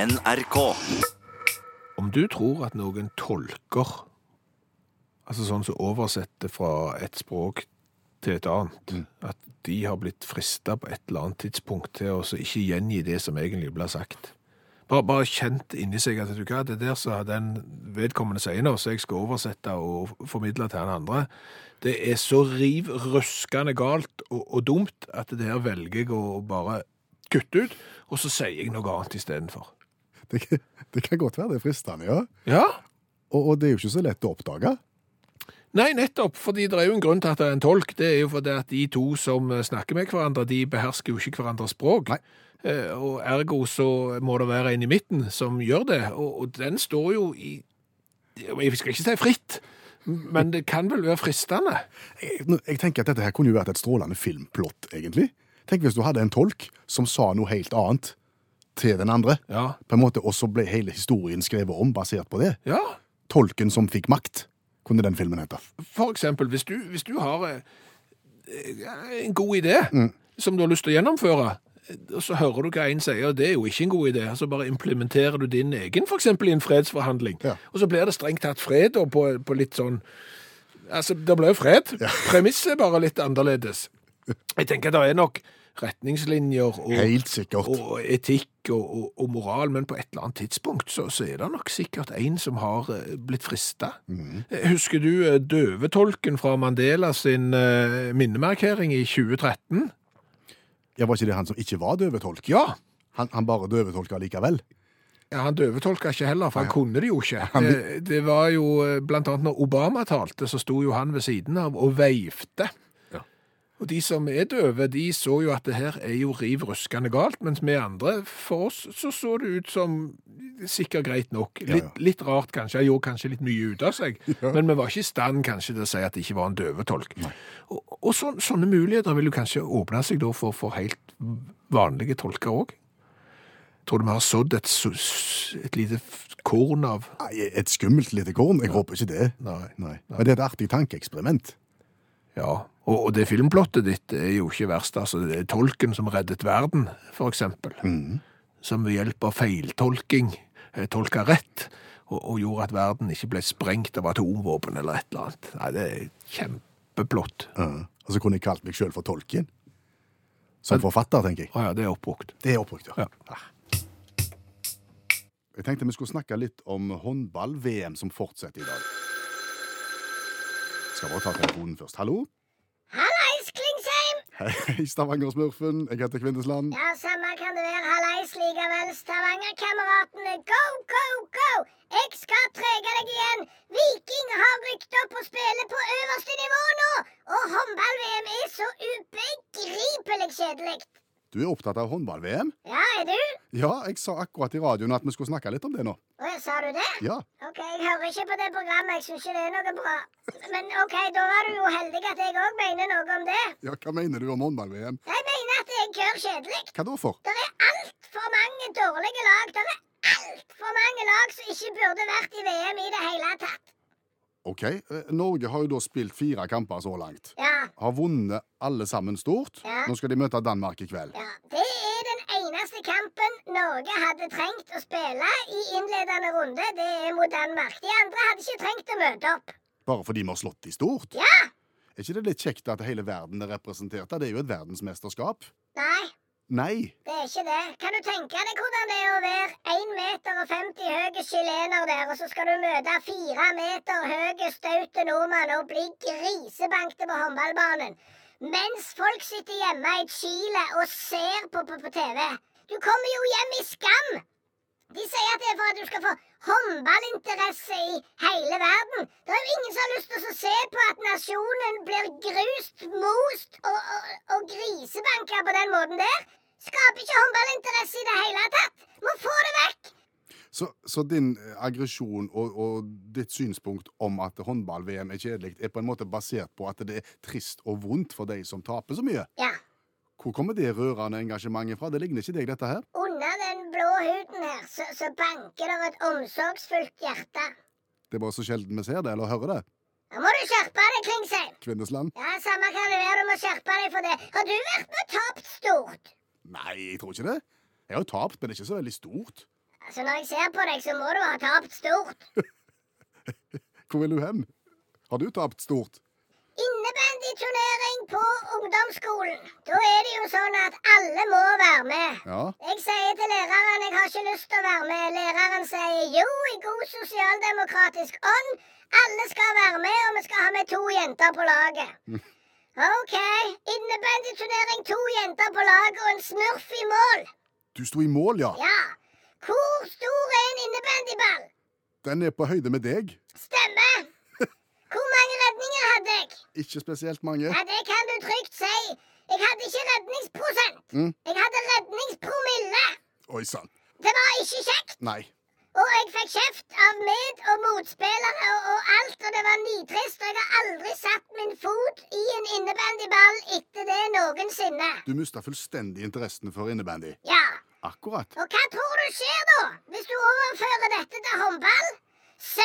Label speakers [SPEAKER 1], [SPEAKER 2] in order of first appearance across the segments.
[SPEAKER 1] NRK.
[SPEAKER 2] Om du tror at noen tolker, altså sånn som oversetter fra et språk til et annet, at de har blitt frista på et eller annet tidspunkt til å så ikke gjengi det som egentlig ble sagt. Bare, bare kjent inni seg at du hva, det der sa den vedkommende sier nå, så jeg skal oversette og formidle til han andre. Det er så riv røskende galt og, og dumt at det der velger jeg å bare kutte ut, og så sier jeg noe annet istedenfor.
[SPEAKER 3] Det, kan- det kan godt være det er fristende, ja.
[SPEAKER 2] Ja,
[SPEAKER 3] Og, og det er jo ikke så lett å oppdage.
[SPEAKER 2] Nei, nettopp, fordi det er jo en grunn til at det er en tolk. Det er jo fordi at de to som eh, snakker med hverandre, de behersker jo ikke hverandres språk.
[SPEAKER 3] Nei.
[SPEAKER 2] Eh, Og ergo så må det være en i midten som gjør det, og, og den står jo i Jeg skal ikke si fritt, men det kan vel være fristende.
[SPEAKER 3] Jeg, nå- jeg tenker at dette her kunne jo vært et strålende filmplott, egentlig. Tenk hvis du hadde en tolk som sa noe helt annet til den andre,
[SPEAKER 2] Ja.
[SPEAKER 3] på en måte, og så ble hele historien skrevet om basert på det.
[SPEAKER 2] ja.
[SPEAKER 3] Tolken som fikk makt, kunne den filmen hete.
[SPEAKER 2] For eksempel, hvis du, hvis du har eh, eh, en god idé som du har lyst til å gjennomføre, eh, og så hører du hva en sier, det er jo ikke en god idé, så bare implementerer du din egen, for eksempel i en fredsforhandling,
[SPEAKER 3] Ja.
[SPEAKER 2] og så blir det strengt tatt fred da, på, på litt sånn, altså det blir jo fred, premisset er bare litt annerledes. Jeg tenker det er nok retningslinjer og,
[SPEAKER 3] Helt sikkert.
[SPEAKER 2] og etikk og, og, og moral, men på et eller annet tidspunkt så, så er det nok sikkert en som har eh, blitt frista. Husker du eh, døvetolken fra Mandela sin eh, minnemarkering i 2013?
[SPEAKER 3] Ja, var ikke det han som ikke var døvetolk?
[SPEAKER 2] Ja!
[SPEAKER 3] Han, han bare døvetolka likevel?
[SPEAKER 2] Ja, Han døvetolka ikke heller, for han kunne det jo ikke. Det, det var jo eh, blant annet når Obama talte, så sto jo han ved siden av og veifte. Og de som er døve, de så jo at det her er jo riv ruskende galt, mens vi andre, for oss, så så det ut som sikkert greit nok.
[SPEAKER 3] Ja, ja.
[SPEAKER 2] Litt, litt rart kanskje, han gjorde kanskje litt mye ut av seg, men vi var ikke i stand kanskje til å si at det ikke var en døvetolk. Og, og sånn- sånne muligheter vil jo kanskje åpne seg da for, for helt vanlige tolker òg. Tror du vi har sådd et, s- et lite f- korn av
[SPEAKER 3] Nei, Et skummelt lite korn? Jeg håper ikke det.
[SPEAKER 2] Nei.
[SPEAKER 3] Men det er et artig tankeeksperiment.
[SPEAKER 2] Ja. Og, og det filmplottet ditt er jo ikke verst. altså Det er tolken som reddet verden, for eksempel. Som ved hjelp av feiltolking eh, tolka rett, og, og gjorde at verden ikke ble sprengt av atomvåpen eller et eller annet. Nei, det er kjempeplott.
[SPEAKER 3] Ja. Og så kunne jeg kalt meg sjøl for tolken. Som forfatter, tenker jeg.
[SPEAKER 2] Å ja, det er oppbrukt.
[SPEAKER 3] Det er oppbrukt, ja.
[SPEAKER 2] Ja.
[SPEAKER 3] Jeg tenkte vi skulle snakke litt om håndball-VM som fortsetter i dag. Skal bare ta telefonen først. Hallo?
[SPEAKER 4] Hallais, Klingsheim!
[SPEAKER 3] Hei, Stavanger-smurfen. Jeg heter Kvindesland.
[SPEAKER 4] Ja, samme kan det være. Hallais likevel, Stavanger-kameratene. Go, go, go! Jeg skal trege deg igjen. Viking har rykt opp og spiller på øverste nivå nå. Og håndball-VM er så ubegripelig kjedelig.
[SPEAKER 3] Du er opptatt av håndball-VM?
[SPEAKER 4] Ja, er du?
[SPEAKER 3] Ja, jeg sa akkurat i radioen at vi skulle snakke litt om det nå.
[SPEAKER 4] Å, ja, sa du det?
[SPEAKER 3] Ja.
[SPEAKER 4] Ok, jeg hører ikke på det programmet. Jeg syns ikke det er noe bra. Men ok, da var du jo heldig at jeg òg mener noe om det.
[SPEAKER 3] ja hva mener du om håndball-VM?
[SPEAKER 4] Jeg mener at det er kør kjedelig.
[SPEAKER 3] Hva da for?
[SPEAKER 4] Det er altfor mange dårlige lag. Det er altfor mange lag som ikke burde vært i VM i det hele tatt.
[SPEAKER 3] OK, eh, Norge har jo da spilt fire kamper så langt.
[SPEAKER 4] Ja,
[SPEAKER 3] Har vunnet alle sammen stort.
[SPEAKER 4] Ja.
[SPEAKER 3] Nå skal de møte Danmark i kveld.
[SPEAKER 4] ja. Det er den eneste kampen Norge hadde trengt å spille i innledende runde. Det er mot Danmark. De andre hadde ikke trengt å møte opp.
[SPEAKER 3] Bare fordi vi har slått de stort.
[SPEAKER 4] Ja!
[SPEAKER 3] Er ikke det litt kjekt at hele verden er representert? Det er jo et verdensmesterskap.
[SPEAKER 4] Nei,
[SPEAKER 3] Nei.
[SPEAKER 4] det er ikke det. Kan du tenke deg hvordan det er å være 1 meter og 50 høye chilener der, og så skal du møte fire meter høye staute nordmann og bli grisebankte på håndballbanen? mens folk sitter hjemme i Chile og ser på, på, på TV. Du kommer jo hjem i skam! De sier at det er for at du skal få håndballinteresse i hele verden. Det er jo ingen som har lyst til å se på at nasjonen blir grust, most og, og, og grisebanka på den måten der. Skaper ikke håndballinteresse i det hele tatt. Må få det vekk!
[SPEAKER 3] Så, så din eh, aggresjon og, og ditt synspunkt om at håndball-VM er kjedelig, er på en måte basert på at det er trist og vondt for de som taper så mye?
[SPEAKER 4] Ja.
[SPEAKER 3] Hvor kommer det rørende engasjementet fra? Det ligner ikke deg, dette her.
[SPEAKER 4] Under den blå huden her så, så banker det et omsorgsfullt hjerte.
[SPEAKER 3] Det er bare så sjelden vi ser det, eller hører det.
[SPEAKER 4] Nå må du skjerpe deg, Klingsheim.
[SPEAKER 3] Kvinnesland?
[SPEAKER 4] Ja, samme kan det være. Du må skjerpe deg for det. Har du vært med og tapt stort?
[SPEAKER 3] Nei, jeg tror ikke det. Jeg har jo tapt, men det er ikke så veldig stort.
[SPEAKER 4] Altså, når jeg ser på deg, så må du ha tapt stort.
[SPEAKER 3] Hvor vil du hen? Har du tapt stort?
[SPEAKER 4] Innebandyturnering på ungdomsskolen. Da er det jo sånn at alle må være med.
[SPEAKER 3] Ja.
[SPEAKER 4] Jeg sier til læreren jeg har ikke lyst til å være med. Læreren sier jo, i god sosialdemokratisk ånd. Alle skal være med, og vi skal ha med to jenter på laget. OK. Innebandyturnering, to jenter på laget og en smurf i mål.
[SPEAKER 3] Du sto i mål, ja.
[SPEAKER 4] Ja. Hvor stor er en innebandyball?
[SPEAKER 3] Den er på høyde med deg.
[SPEAKER 4] Stemmer. Hvor mange redninger hadde jeg?
[SPEAKER 3] Ikke spesielt mange.
[SPEAKER 4] Ja, det kan du trygt si. Jeg hadde ikke redningsprosent.
[SPEAKER 3] Mm.
[SPEAKER 4] Jeg hadde redningspromille.
[SPEAKER 3] Oi sann.
[SPEAKER 4] Det var ikke kjekt.
[SPEAKER 3] Nei.
[SPEAKER 4] Og jeg fikk kjeft av med- og motspillere og, og alt, og det var nitrist. Og jeg har aldri satt min fot i en innebandyball etter det noensinne.
[SPEAKER 3] Du mista fullstendig interessen for innebandy.
[SPEAKER 4] Ja,
[SPEAKER 3] Akkurat.
[SPEAKER 4] og hva tror du skjer da, hvis du overfører dette til håndball?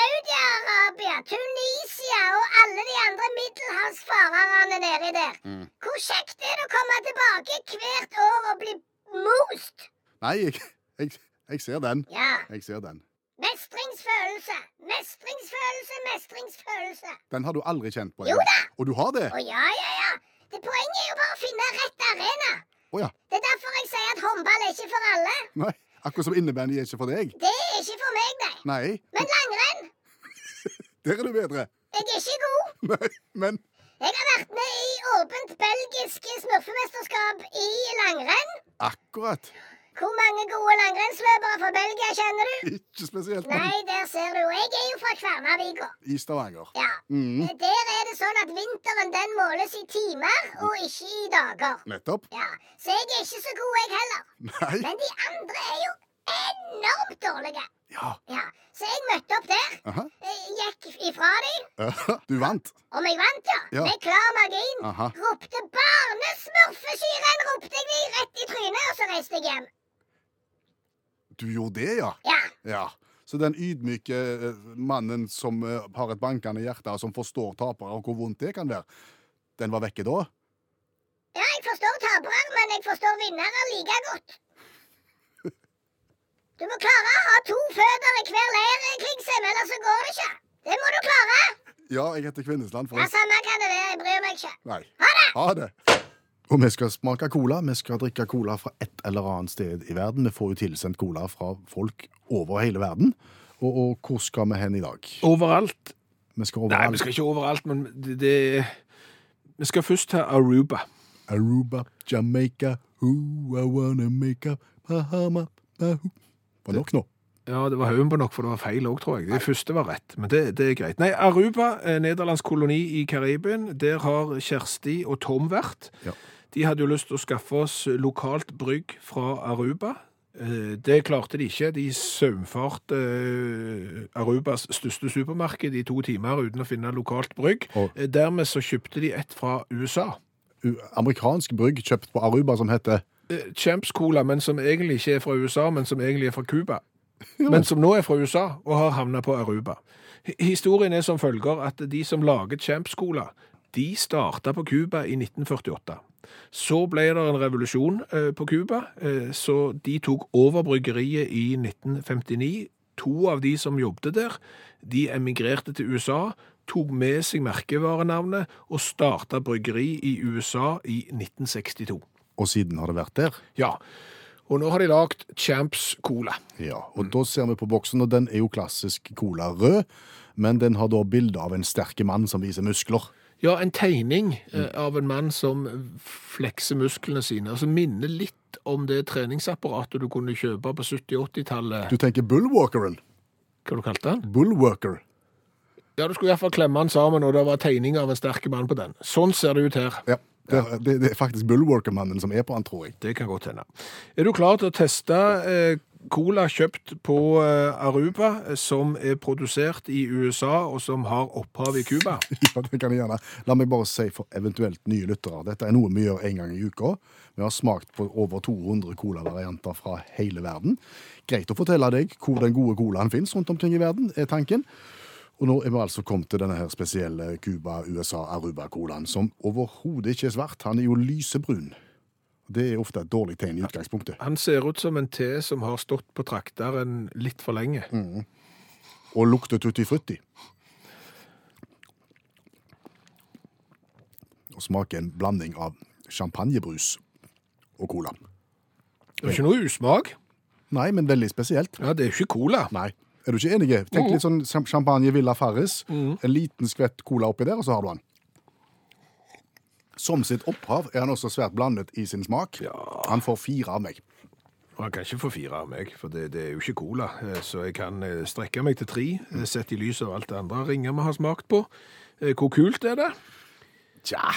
[SPEAKER 4] Saudi-Arabia, Tunisia og alle de andre middelhavsfarerne nedi der.
[SPEAKER 3] Mm.
[SPEAKER 4] Hvor kjekt er det å komme tilbake hvert år og bli most?
[SPEAKER 3] Nei, jeg, jeg, jeg ser den.
[SPEAKER 4] Ja.
[SPEAKER 3] Jeg ser den.
[SPEAKER 4] Mestringsfølelse, mestringsfølelse, mestringsfølelse.
[SPEAKER 3] Den har du aldri kjent på.
[SPEAKER 4] Jo
[SPEAKER 3] Ellen.
[SPEAKER 4] da!
[SPEAKER 3] Og du har det?
[SPEAKER 4] Å ja, ja, ja. Det Poenget er jo bare å finne rett arena.
[SPEAKER 3] Å ja.
[SPEAKER 4] Det er derfor jeg sier at håndball er ikke for alle.
[SPEAKER 3] Nei. Akkurat som innebandy er ikke for deg.
[SPEAKER 4] Det er ikke for meg, nei.
[SPEAKER 3] Nei.
[SPEAKER 4] Men langrenn
[SPEAKER 3] Der er du bedre.
[SPEAKER 4] Jeg er ikke god.
[SPEAKER 3] Nei, men
[SPEAKER 4] Jeg har vært med i åpent belgisk smurfemesterskap i langrenn.
[SPEAKER 3] akkurat.
[SPEAKER 4] Hvor mange gode langrennsløpere fra Belgia kjenner du?
[SPEAKER 3] Ikke spesielt mange
[SPEAKER 4] Nei, der ser du. Jeg er jo fra Kværnervika.
[SPEAKER 3] i Stavanger.
[SPEAKER 4] Ja.
[SPEAKER 3] Mm.
[SPEAKER 4] Der er det sånn at vinteren den måles i timer og ikke i dager.
[SPEAKER 3] Nettopp.
[SPEAKER 4] Ja, Så jeg er ikke så god, jeg heller.
[SPEAKER 3] Nei.
[SPEAKER 4] Men de andre er jo enormt dårlige.
[SPEAKER 3] Ja.
[SPEAKER 4] Ja, Så jeg møtte opp der.
[SPEAKER 3] Aha.
[SPEAKER 4] eh, Gikk ifra dem.
[SPEAKER 3] Ja, Du vant.
[SPEAKER 4] Om jeg vant, ja.
[SPEAKER 3] Ja.
[SPEAKER 4] Med klar margin.
[SPEAKER 3] Aha.
[SPEAKER 4] Ropte 'barnesmurfesyren'! ropte jeg de rett i trynet, og så reiste jeg hjem.
[SPEAKER 3] Du gjorde det, ja.
[SPEAKER 4] Ja.
[SPEAKER 3] Ja. Så den ydmyke eh, mannen som eh, har et bankende hjerte, og som forstår tapere og hvor vondt det kan være, den var vekke da?
[SPEAKER 4] ja, jeg forstår tapere, men jeg forstår vinnere like godt. Du må klare å ha to føtter i hver leir, Klingsheim, ellers så går det ikke. Det må du klare.
[SPEAKER 3] Ja, jeg heter Kvinnesland.
[SPEAKER 4] Ja,
[SPEAKER 3] forresten.
[SPEAKER 4] Samme kan det være, jeg bryr meg ikke.
[SPEAKER 3] Nei. Ha det! Og vi skal smake cola. Vi skal drikke cola fra et eller annet sted i verden. Vi får jo tilsendt cola fra folk over hele verden. Og, og hvor skal vi hen i dag?
[SPEAKER 2] Overalt.
[SPEAKER 3] Vi skal
[SPEAKER 2] Nei,
[SPEAKER 3] overalt.
[SPEAKER 2] vi skal ikke overalt, men det, det Vi skal først til Aruba.
[SPEAKER 3] Aruba, Jamaica, who I wanna make up, Bahama, Bahoo. Var nok nå?
[SPEAKER 2] Ja, det var haugen på nok, for det var feil òg, tror jeg. Det første var rett, men det, det er greit. Nei, Aruba, eh, nederlandsk koloni i Karibien, der har Kjersti og Tom vært.
[SPEAKER 3] Ja.
[SPEAKER 2] De hadde jo lyst til å skaffe oss lokalt brygg fra Aruba. Eh, Det klarte de ikke. De saumfarte eh, Arubas største supermarked i to timer uten å finne lokalt brygg.
[SPEAKER 3] Og-
[SPEAKER 2] Eh, Dermed så kjøpte de et fra USA.
[SPEAKER 3] U- Amerikansk brygg kjøpt på Aruba som heter
[SPEAKER 2] eh, Champs Cola, men som egentlig ikke er fra USA, men som egentlig er fra Cuba. Men som nå er fra USA, og har havna på Aruba. Hi- Historien er som følger at de som laget Champs Cola, de starta på Cuba i 1948. Så ble det en revolusjon eh, på Cuba, eh, så de tok over bryggeriet i 1959. To av de som jobbet der, de emigrerte til USA, tok med seg merkevarenavnet og starta bryggeri i USA i 1962.
[SPEAKER 3] Og siden har det vært der.
[SPEAKER 2] Ja, og nå har de lagt Champs Cola.
[SPEAKER 3] Ja, og
[SPEAKER 2] Mm.
[SPEAKER 3] da ser vi på boksen, og den er jo klassisk cola rød, men den har da bilde av en sterke mann som viser muskler.
[SPEAKER 2] Ja, en tegning eh, av en mann som flekser musklene sine, som minner litt om det treningsapparatet du kunne kjøpe på 70-80-tallet.
[SPEAKER 3] Du tenker bullwalkeren?
[SPEAKER 2] Hva du kalte den?
[SPEAKER 3] Bullwalker.
[SPEAKER 2] Ja, du skulle i hvert fall klemme den sammen, og det var tegning av en sterke mann på den. Sånn ser det ut her.
[SPEAKER 3] Ja, det, det, det er faktisk bullwalkermannen som er på han, tror jeg.
[SPEAKER 2] Det kan godt hende. Er du klar til å teste eh, cola kjøpt på eh, Aruba, eh, som er produsert i USA, og som har opphav i Cuba?
[SPEAKER 3] Ja, det kan jeg gjerne. La meg bare si for eventuelt nye lyttere, dette er noe vi gjør en gang i uka. Vi har smakt på over 200 colavarianter fra hele verden. Greit å fortelle deg hvor den gode colaen finnes rundt omkring i verden, er tanken. Og nå er vi altså kommet til denne her spesielle Cuba, USA, Aruba-colaen, som overhodet ikke er svart. Han er jo lysebrun. Det er ofte et dårlig tegn i utgangspunktet.
[SPEAKER 2] Han ser ut som en te som har stått på trakteren litt for lenge.
[SPEAKER 3] Og lukter tutti frutti. Og smaker en blanding av champagnebrus og cola.
[SPEAKER 2] Det er ikke noe usmak.
[SPEAKER 3] Nei, men veldig spesielt.
[SPEAKER 2] Ja, det er ikke cola.
[SPEAKER 3] Nei. Er du ikke enig? Tenk litt sånn cham- champagne Villa Farris. En liten skvett cola oppi der, og så har du den. Som sitt opphav er han også svært blandet i sin smak. Han får fire av meg.
[SPEAKER 2] Og han kan ikke få fire av meg, for det, det er jo ikke cola. Eh, Så jeg kan eh, strekke meg til tre, eh, sett i lys av alt det andre ringer vi har smakt på. Eh, Hvor kult er det?
[SPEAKER 3] Tja,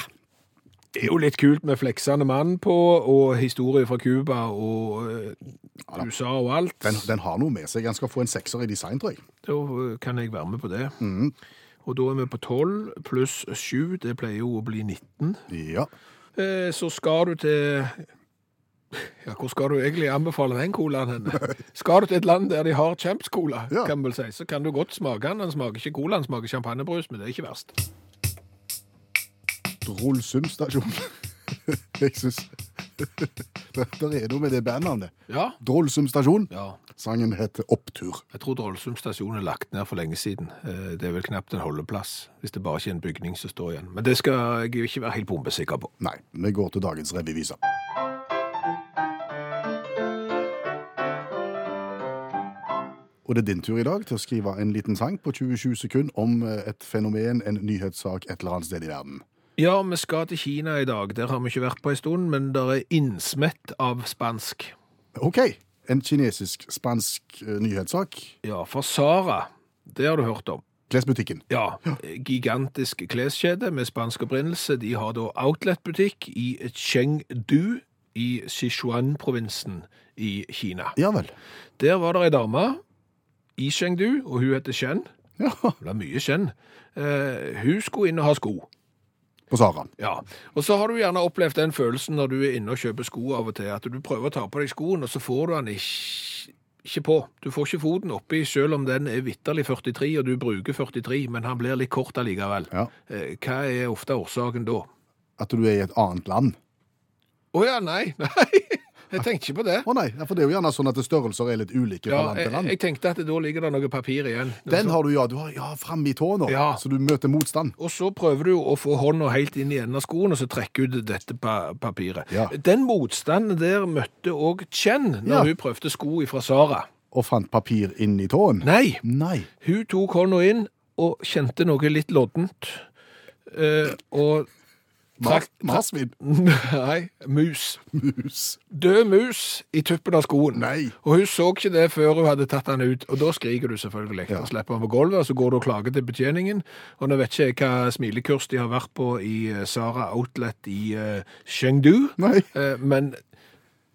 [SPEAKER 2] Det er jo litt kult med fleksende mann på, og historie fra Cuba og eh, USA og alt.
[SPEAKER 3] den, den har noe med seg. Han skal få en sekser i design, tror jeg.
[SPEAKER 2] Da eh, kan jeg være med på det. Og da er vi på 12 pluss 7, det pleier jo å bli 19.
[SPEAKER 3] Ja.
[SPEAKER 2] Eh, Så skal du til Ja, hvor skal du egentlig anbefale den colaen henne? Skal du til et land der de har champs-cola,
[SPEAKER 3] Ja.
[SPEAKER 2] kan vi vel si, så kan du godt smake den. Den smaker ikke cola, den smaker champagnebrus, men det er ikke verst.
[SPEAKER 3] Rolsum stasjon. jeg syns Der der er noe med det bandnavnet.
[SPEAKER 2] Ja.
[SPEAKER 3] Drolsum stasjon.
[SPEAKER 2] ja.
[SPEAKER 3] Sangen heter Opptur.
[SPEAKER 2] Jeg tror Drollsum stasjon er lagt ned for lenge siden. Eh, Det er vel knapt en holdeplass, hvis det bare ikke er en bygning som står igjen. Men det skal jeg jo ikke være helt bombesikker på.
[SPEAKER 3] Nei, vi går til dagens revyvise. Og det er din tur i dag til å skrive en liten sang på 27 sekunder om eh, et fenomen, en nyhetssak, et eller annet sted i verden.
[SPEAKER 2] Ja, vi skal til Kina i dag. Der har vi ikke vært på en stund, men det er innsmett av spansk.
[SPEAKER 3] OK! En kinesisk-spansk eh, nyhetssak.
[SPEAKER 2] Ja, for Sara, det har du hørt om.
[SPEAKER 3] Klesbutikken.
[SPEAKER 2] Ja, gigantisk kleskjede med spansk opprinnelse. De har da outlet-butikk i Chengdu i Sichuan-provinsen i Kina.
[SPEAKER 3] Ja vel.
[SPEAKER 2] Der var det ei dame i Chengdu, og hun heter Chen.
[SPEAKER 3] Ja,
[SPEAKER 2] Hun har mye Chen. Eh, hun skulle inn og ha sko.
[SPEAKER 3] På Sara.
[SPEAKER 2] Ja, Og så har du gjerne opplevd den følelsen når du er inne og kjøper sko av og til, at du prøver å ta på deg skoen, og så får du den ikke, ikke på. Du får ikke foten oppi, selv om den er vitterlig 43, og du bruker 43, men han blir litt kort allikevel.
[SPEAKER 3] Ja.
[SPEAKER 2] Eh, Hva er ofte årsaken da?
[SPEAKER 3] At du er i et annet land.
[SPEAKER 2] Å ja, nei, nei, jeg tenkte ikke på det.
[SPEAKER 3] Å nei, ja, for det er jo gjerne sånn at størrelser er litt ulike fra
[SPEAKER 2] Ja,
[SPEAKER 3] land
[SPEAKER 2] jeg,
[SPEAKER 3] til land.
[SPEAKER 2] jeg tenkte at det da ligger det noe papir igjen.
[SPEAKER 3] Den har du, ja. Du har ja, framme i tåa nå,
[SPEAKER 2] Ja.
[SPEAKER 3] så du møter motstand.
[SPEAKER 2] Og så prøver du å få hånda helt inn i enden av skoen, og så trekke ut dette pa papiret.
[SPEAKER 3] Ja.
[SPEAKER 2] Den motstanden der møtte òg Chen når
[SPEAKER 3] Ja.
[SPEAKER 2] hun prøvde sko fra Sara.
[SPEAKER 3] Og fant papir inni tåen.
[SPEAKER 2] Nei,
[SPEAKER 3] Nei.
[SPEAKER 2] hun tok hånda inn og kjente noe litt loddent. Eh, og
[SPEAKER 3] Mas,
[SPEAKER 2] trakk
[SPEAKER 3] marsvin.
[SPEAKER 2] Nei, mus.
[SPEAKER 3] Mus.
[SPEAKER 2] Død mus i tuppen av skoen.
[SPEAKER 3] Nei.
[SPEAKER 2] Og hun så ikke det før hun hadde tatt den ut, og da skriker du selvfølgelig.
[SPEAKER 3] Ja.
[SPEAKER 2] Da slipper han på gulvet, og så går du og klager til betjeningen. Og nå vet ikke jeg hva smilekurs de har vært på i eh, Sara Outlet i eh, Chengdu,
[SPEAKER 3] Nei.
[SPEAKER 2] Eh, men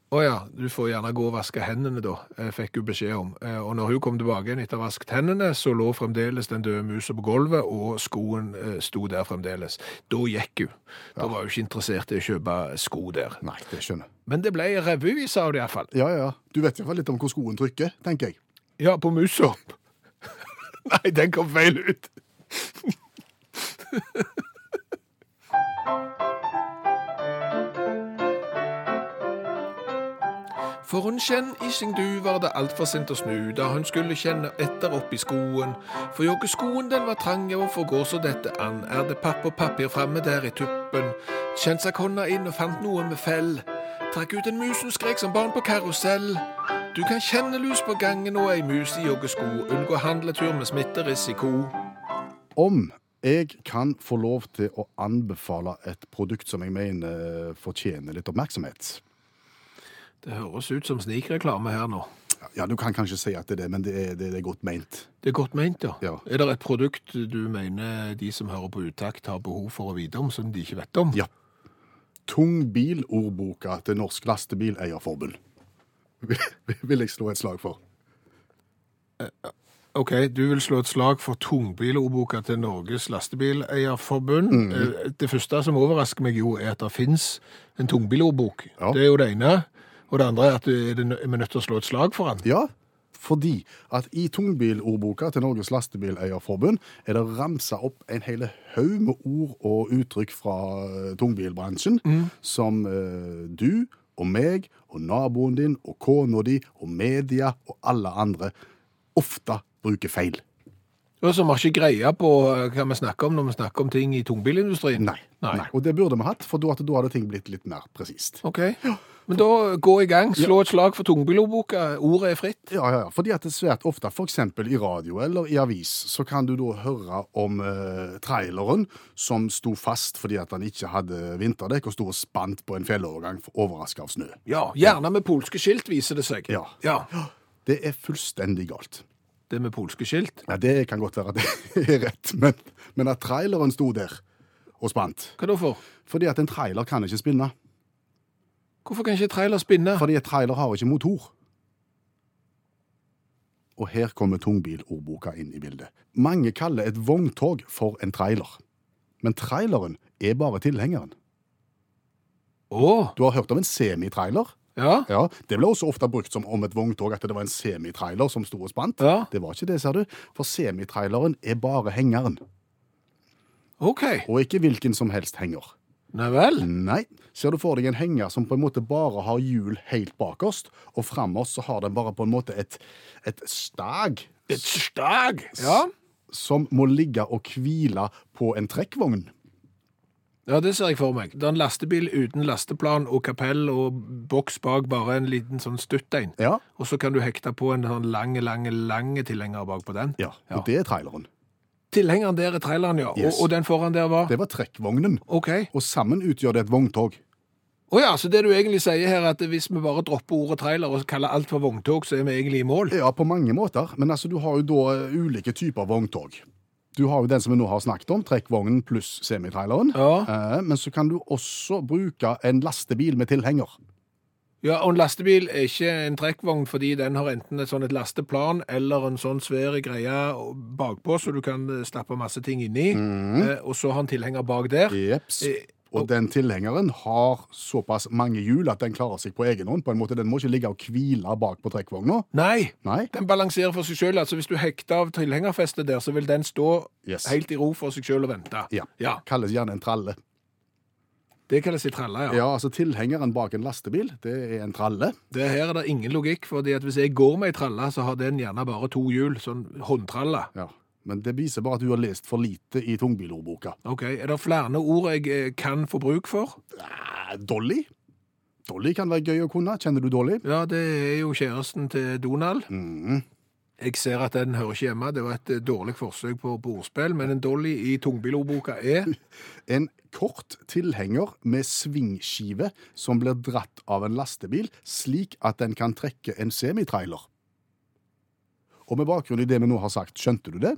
[SPEAKER 2] å ja, du får gjerne gå og vaske hendene da, eh, fikk hun beskjed om. Eh, Og når hun kom tilbake igjen etter å ha vasket hendene, så lå fremdeles den døde musa på gulvet, og skoen eh, sto der fremdeles. Da gikk hun. Da var hun ikke interessert i å kjøpe sko der.
[SPEAKER 3] Nei, det skjønner jeg.
[SPEAKER 2] Men det ble revyvis av det iallfall.
[SPEAKER 3] Ja, ja. Du vet iallfall litt om hvor skoen trykker, tenker jeg.
[SPEAKER 2] Ja, på musa. Nei, den kom feil ut. For hun kjenn i sin du var det altfor sent å snu da hun skulle kjenne etter oppi skoen. For joggeskoen den var trang, ja, hvorfor går så dette an? Er det papp og papir framme der i tuppen? Kjenn seg hånda inn og fant noe med fell. Trakk ut en mus hun skrek som barn på karusell. Du kan kjenne lus på gangen og ei mus i joggesko. Unngå handletur med smitterisiko.
[SPEAKER 3] Om jeg kan få lov til å anbefale et produkt som jeg mener fortjener litt oppmerksomhet.
[SPEAKER 2] Det høres ut som snikreklame her nå.
[SPEAKER 3] Ja, du kan kanskje si at det er det, men det er, det er godt meint.
[SPEAKER 2] Det er godt ment, ja.
[SPEAKER 3] Ja.
[SPEAKER 2] Er det et produkt du mener de som hører på Utakt har behov for å vite om, som de ikke vet om?
[SPEAKER 3] Ja. Tungbilordboka til Norsk Lastebileierforbund. Vil jeg slå et slag for.
[SPEAKER 2] Ok, du vil slå et slag for tungbilordboka til Norges Lastebileierforbund.
[SPEAKER 3] Mm.
[SPEAKER 2] Eh, Det første som overrasker meg jo, er at det finnes en tungbilordbok.
[SPEAKER 3] Ja.
[SPEAKER 2] Det er jo det ene. Og det andre er at det- er det nø- er vi nødt til å slå et slag for den.
[SPEAKER 3] Ja, fordi at i tungbilordboka til Norges Lastebileierforbund er det ramsa opp en hele haug med ord og uttrykk fra eh, tungbilbransjen som eh, du og meg og naboen din og kona di og media og alle andre ofte bruker feil.
[SPEAKER 2] Og så har vi ikke greie på eh, hva vi snakker om når vi snakker om ting i tungbilindustrien.
[SPEAKER 3] Nei.
[SPEAKER 2] Nei.
[SPEAKER 3] Nei. Og det burde vi hatt, for da at- da hadde ting blitt litt mer presist.
[SPEAKER 2] Ok. Men da eh, gå i gang. Slå et slag for tungbilordboka. Ordet er fritt.
[SPEAKER 3] Ja, ja, ja. Fordi at det svært ofte, f.eks. i radio eller i avis, så kan du da høre om eh, traileren som sto fast fordi at han ikke hadde vinterdekk og sto og spant på en fjellovergang overraska av snø.
[SPEAKER 2] Ja, Gjerne med polske skilt, viser det seg.
[SPEAKER 3] Ja. Det er fullstendig galt.
[SPEAKER 2] Det med polske skilt.
[SPEAKER 3] Ja, Det kan godt være at det er rett, men, men at traileren sto der og spant
[SPEAKER 2] Hva da for?
[SPEAKER 3] Fordi at en trailer kan ikke spinne.
[SPEAKER 2] Hvorfor kan ikke trailer spinne?
[SPEAKER 3] Fordi en trailer har ikke motor. Og her kommer tungbilordboka inn i bildet. Mange kaller et vogntog for en trailer. Men traileren er bare tilhengeren.
[SPEAKER 2] Å,
[SPEAKER 3] Du har hørt om en semitrailer?
[SPEAKER 2] ja.
[SPEAKER 3] Ja, Det ble også ofte brukt som om et vogntog at det var en semitrailer som sto og spant.
[SPEAKER 2] Ja.
[SPEAKER 3] Det var ikke det, ser du. For semitraileren er bare hengeren.
[SPEAKER 2] OK.
[SPEAKER 3] Og ikke hvilken som helst henger.
[SPEAKER 2] Nei vel.
[SPEAKER 3] Nei. Ser du for deg en henger som på en måte bare har hjul helt bakerst, og framover så har den bare på en måte et, et stag
[SPEAKER 2] Et stag. Ja.
[SPEAKER 3] som må ligge og hvile på en trekkvogn.
[SPEAKER 2] ja, det ser jeg for meg. Det er en lastebil uten lasteplan og kapell og boks bak bare en liten sånn stuttein.
[SPEAKER 3] Ja.
[SPEAKER 2] Og så kan du hekte på en sånn lange, lange, lange tilhenger bak på den.
[SPEAKER 3] ja. Og det er traileren.
[SPEAKER 2] Tilhengeren der er traileren, ja.
[SPEAKER 3] Yes.
[SPEAKER 2] Og, og den foran der var?
[SPEAKER 3] Det var trekkvognen.
[SPEAKER 2] OK. Å
[SPEAKER 3] Og sammen utgjør det et vogntog.
[SPEAKER 2] ja, så det du egentlig sier her, er at hvis vi bare dropper ordet trailer og kaller alt for vogntog, så er vi egentlig i mål?
[SPEAKER 3] Ja, på mange måter, men altså, du har jo da eh, ulike typer vogntog. Du har jo den som vi nå har snakket om, trekkvognen pluss semitraileren.
[SPEAKER 2] Ja.
[SPEAKER 3] Eh, Men så kan du også bruke en lastebil med tilhenger.
[SPEAKER 2] Ja, og en lastebil er ikke en trekkvogn fordi den har enten et sånn et lasteplan eller en sånn svær greie bakpå, så du kan eh, stappe masse ting inni,
[SPEAKER 3] Mhm.
[SPEAKER 2] eh, og så har en tilhenger bak der.
[SPEAKER 3] Jeps.
[SPEAKER 2] Eh,
[SPEAKER 3] Og den tilhengeren har såpass mange hjul at den klarer seg på egen hånd. på en måte. Den må ikke ligge og hvile bak på trekkvogna.
[SPEAKER 2] Nei,
[SPEAKER 3] Nei.
[SPEAKER 2] den balanserer for seg selv. Altså, hvis du hekter av tilhengerfestet der, så vil den stå
[SPEAKER 3] Yes.
[SPEAKER 2] helt i ro for seg selv og vente.
[SPEAKER 3] Ja. Kalles gjerne en tralle.
[SPEAKER 2] Det kalles i tralla, ja.
[SPEAKER 3] Ja, altså Tilhengeren bak en lastebil, det er en tralle.
[SPEAKER 2] Det her er det ingen logikk, fordi at hvis jeg går med ei tralle, så har den gjerne bare to hjul, sånn håndtralle.
[SPEAKER 3] Ja. Men det viser bare at du har lest for lite i tungbilordboka.
[SPEAKER 2] Ok, er det flere ord jeg eh, kan få bruk for?
[SPEAKER 3] Eh, Dolly? Dolly kan være gøy å kunne. Kjenner du Dolly?
[SPEAKER 2] Ja, det er jo kjæresten til Donald.
[SPEAKER 3] Mhm.
[SPEAKER 2] Jeg ser at den hører ikke hjemme. Det var et eh, dårlig forsøk på, på ordspill, men en dolly i tungbilordboka er
[SPEAKER 3] En kort tilhenger med svingskive som blir dratt av en lastebil, slik at den kan trekke en semitrailer. Og med bakgrunn i det vi nå har sagt, skjønte du det?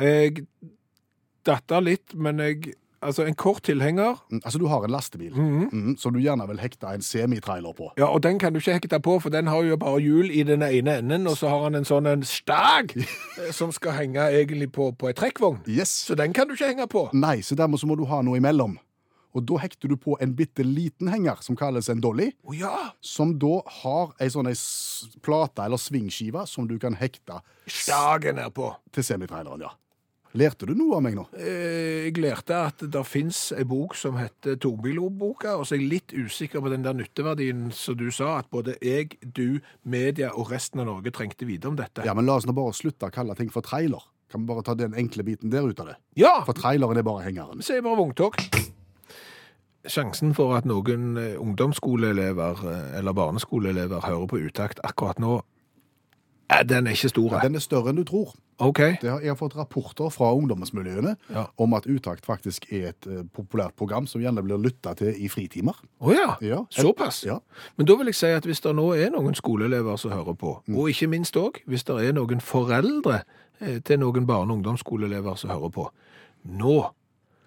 [SPEAKER 2] Jeg datta litt, men jeg Altså, en kort tilhenger
[SPEAKER 3] Mm, Altså, du har en lastebil mm, som du gjerne vil hekte en semitrailer på.
[SPEAKER 2] Ja, og den kan du ikke hekte på, for den har jo bare hjul i den ene enden, og så har han en sånn en stag eh, som skal henge egentlig på, på ei trekkvogn.
[SPEAKER 3] Yes.
[SPEAKER 2] Så den kan du ikke henge på.
[SPEAKER 3] Nei, så dermed så må du ha noe imellom. Og da hekter du på en bitte liten henger, som kalles en dolly,
[SPEAKER 2] Å ja!
[SPEAKER 3] som da har ei sånn ei s- plate eller svingskive som du kan hekte
[SPEAKER 2] Stagen er på.
[SPEAKER 3] til semitraileren, ja. Lærte du noe av meg nå?
[SPEAKER 2] Eh, Jeg lærte at det fins ei bok som heter Tungbilordboka, og så er jeg litt usikker på den der nytteverdien som du sa, at både jeg, du, media og resten av Norge trengte vite om dette.
[SPEAKER 3] Ja, men la oss nå bare slutte å kalle ting for trailer. Kan vi bare ta den enkle biten der ut av det?
[SPEAKER 2] Ja!
[SPEAKER 3] For traileren er bare hengeren.
[SPEAKER 2] Så er det bare vogntog. Sjansen for at noen eh, ungdomsskoleelever eh, eller barneskoleelever hører på utakt akkurat nå, eh, den er ikke stor. eh.
[SPEAKER 3] Den er større enn du tror.
[SPEAKER 2] OK.
[SPEAKER 3] Det har, jeg har fått rapporter fra ungdomsmiljøene
[SPEAKER 2] Ja.
[SPEAKER 3] om at Utakt faktisk er et eh, populært program som gjerne blir lytta til i fritimer.
[SPEAKER 2] Å ja.
[SPEAKER 3] Ja.
[SPEAKER 2] Såpass.
[SPEAKER 3] Ja.
[SPEAKER 2] Men da vil jeg si at hvis det nå er noen skoleelever som hører på, og ikke minst òg hvis det er noen foreldre eh, til noen barne- og ungdomsskoleelever som hører på, nå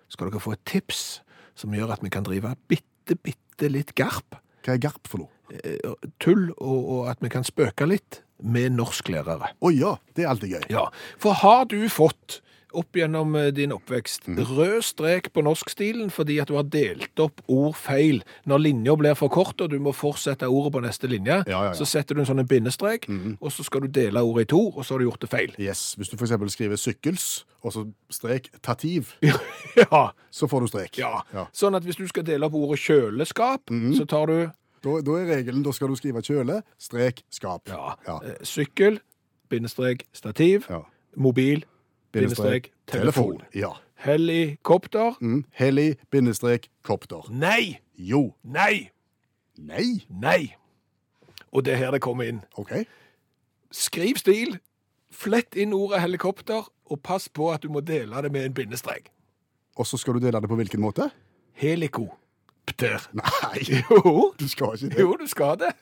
[SPEAKER 2] skal dere få et tips som gjør at vi kan drive bitte, bitte litt garp,
[SPEAKER 3] Hva er garp for noe?
[SPEAKER 2] eh, tull, og, og at vi kan spøke litt med norsklærere.
[SPEAKER 3] Å ja, det er alltid gøy.
[SPEAKER 2] Ja, for har du fått opp gjennom eh, din oppvekst.
[SPEAKER 3] Mm.
[SPEAKER 2] Rød strek på norskstilen fordi at du har delt opp ord feil. Når linja blir for kort, og du må fortsette ordet på neste linje,
[SPEAKER 3] Ja, Mm-hmm. ja, ja.
[SPEAKER 2] så setter du en sånn en bindestrek, og så skal du dele ordet i to, og så har du gjort det feil.
[SPEAKER 3] Yes, Hvis du f.eks. skriver sykkels, og så strek tativ,
[SPEAKER 2] ja,
[SPEAKER 3] så får du strek.
[SPEAKER 2] ja. Sånn at hvis du skal dele opp ordet kjøleskap,
[SPEAKER 3] Mm-hmm.
[SPEAKER 2] så tar du
[SPEAKER 3] Da, da er regelen da skal du skrive kjøle, strek, skap.
[SPEAKER 2] ja,
[SPEAKER 3] Ja.
[SPEAKER 2] eh, sykkel, bindestrek, stativ,
[SPEAKER 3] Ja.
[SPEAKER 2] mobil, bindestrek, telefon.
[SPEAKER 3] Ja.
[SPEAKER 2] Helikopter.
[SPEAKER 3] Mm. Heli, bindestrek, kopter.
[SPEAKER 2] Nei!
[SPEAKER 3] Jo.
[SPEAKER 2] Nei!
[SPEAKER 3] Nei.
[SPEAKER 2] Nei! Og det er her det kommer inn.
[SPEAKER 3] OK.
[SPEAKER 2] Skriv stil, flett inn ordet helikopter, og pass på at du må dele det med en bindestrek.
[SPEAKER 3] Og så skal du dele det på hvilken måte?
[SPEAKER 2] Helikopter.
[SPEAKER 3] Nei,
[SPEAKER 2] Jo,
[SPEAKER 3] du skal ikke det.
[SPEAKER 2] jo, du skal det.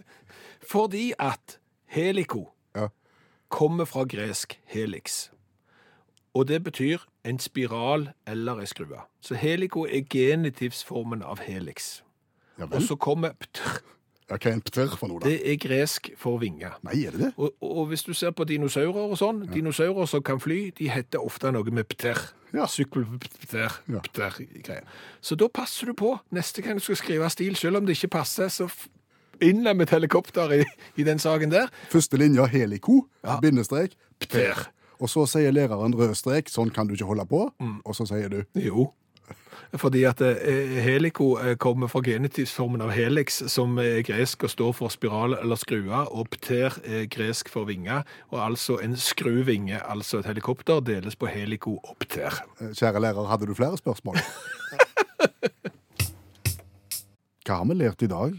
[SPEAKER 2] Fordi at heliko
[SPEAKER 3] Ja.
[SPEAKER 2] kommer fra gresk helix. Og det betyr en spiral eller ei skrue. Så heliko er genitivsformen av helix.
[SPEAKER 3] Ja
[SPEAKER 2] Og
[SPEAKER 3] vel.
[SPEAKER 2] så kommer ptr.
[SPEAKER 3] Ja, Hva er en pter for noe, da?
[SPEAKER 2] Det er gresk for vinge.
[SPEAKER 3] Nei, er det det?
[SPEAKER 2] Og, og hvis du ser på dinosaurer og sånn, dinosaurer som kan fly, de heter ofte noe med pter.
[SPEAKER 3] Ja.
[SPEAKER 2] Sykkelpter,
[SPEAKER 3] Ja.
[SPEAKER 2] pter, greier. Så da passer du på. Neste gang du skal skrive stil, selv om det ikke passer, så f- innlem et helikopter i, i den saken der.
[SPEAKER 3] Første linja heliko, bindestrek, pter.
[SPEAKER 2] Pter.
[SPEAKER 3] Og så sier læreren rød strek, sånn kan du ikke holde på.
[SPEAKER 2] Mm.
[SPEAKER 3] Og så sier du
[SPEAKER 2] Jo. Fordi at eh, heliko eh, kommer fra genitivsformen av helix, som er gresk og står for spiral eller skrue, og pter er gresk for vinge, og altså en skruvinge, altså et helikopter, deles på heliko og pter.
[SPEAKER 3] eh, Kjære lærer, hadde du flere spørsmål? Hva har vi lært i dag?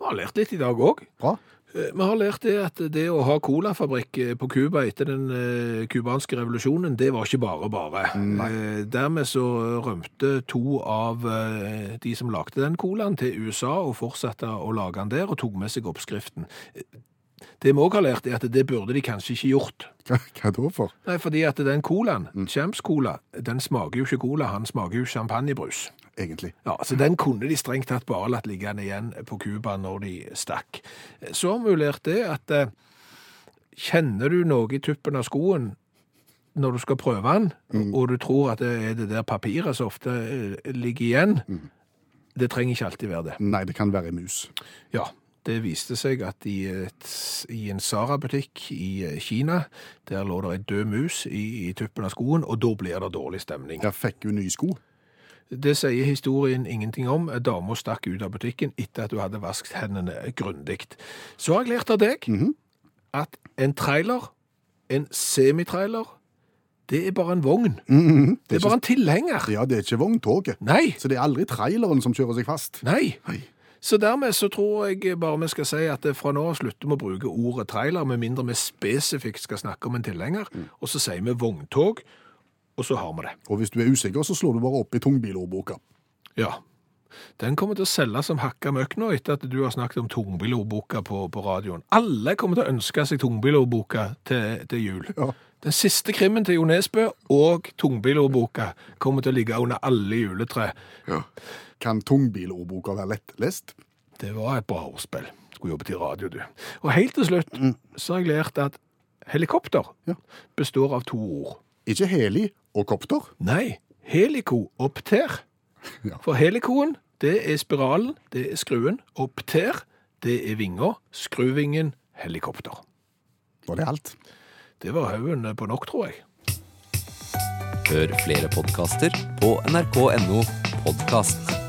[SPEAKER 2] Vi har lært litt i dag òg.
[SPEAKER 3] Bra.
[SPEAKER 2] Eh, Vi har lært det at det å ha colafabrikk eh, på Cuba etter den eh, cubanske revolusjonen, det var ikke bare bare. Eh, Dermed så rømte to av eh, de som lagde den colaen til USA og fortsatte å lage den der, og tok med seg oppskriften. Eh, Det vi òg har lært, er at det burde de kanskje ikke gjort.
[SPEAKER 3] Hva, hva da for?
[SPEAKER 2] Nei, fordi at den colaen, Champs-cola, den smaker jo ikke cola, han smaker jo champagnebrus.
[SPEAKER 3] Egentlig.
[SPEAKER 2] Ja, så Den kunne de strengt tatt bare latt liggende igjen på Cuba når de stakk. Så har vi jo lært det at eh, kjenner du noe i tuppen av skoen når du skal prøve den, og du tror at det er det der papiret som ofte eh, ligger igjen, det trenger ikke alltid være det.
[SPEAKER 3] Nei, det kan være mus.
[SPEAKER 2] Ja, det viste seg at i, et, i en Sara-butikk i eh, Kina, der lå det en død mus i, i tuppen av skoen, og da blir det dårlig stemning.
[SPEAKER 3] Jeg fikk jo nye sko.
[SPEAKER 2] Det sier historien ingenting om. Dama stakk ut av butikken etter at hun hadde vasket hendene grundig. Så har jeg lært av deg at en trailer, en semitrailer, det er bare en vogn. Mhm. det, er bare en tilhenger.
[SPEAKER 3] Ja, det er ikke vogntoget.
[SPEAKER 2] Nei,
[SPEAKER 3] Så det er aldri traileren som kjører seg fast.
[SPEAKER 2] nei.
[SPEAKER 3] Nei.
[SPEAKER 2] Så dermed så tror jeg bare vi skal si at fra nå av slutter vi å bruke ordet trailer, med mindre vi spesifikt skal snakke om en tilhenger, og så sier vi vogntog, og så har vi det.
[SPEAKER 3] Og hvis du er usikker, så slår du bare opp i tungbilordboka.
[SPEAKER 2] Ja. Den kommer til å selge som hakka møkk nå, etter at du har snakket om tungbilordboka på, på radioen. Alle kommer til å ønske seg tungbilordboka til, til jul.
[SPEAKER 3] Ja.
[SPEAKER 2] Den siste krimmen til Jo Nesbø og tungbilordboka kommer til å ligge under alle juletre.
[SPEAKER 3] Kan tungbilordboka være lettlest?
[SPEAKER 2] Det var et bra ordspill. Skulle jobbet i radio, du. Og helt til slutt så har jeg lært at helikopter
[SPEAKER 3] Mm. Ja.
[SPEAKER 2] består av to ord.
[SPEAKER 3] Ikke heli og kopter.
[SPEAKER 2] Nei, heliko og pter.
[SPEAKER 3] Ja.
[SPEAKER 2] For helikoen, det er spiralen, det er skruen, og pter, det er vinger, skruvingen, helikopter.
[SPEAKER 3] Var det alt?
[SPEAKER 2] Det var haugen på nok, tror jeg.
[SPEAKER 1] Hør flere podkaster på nrk.no podkast.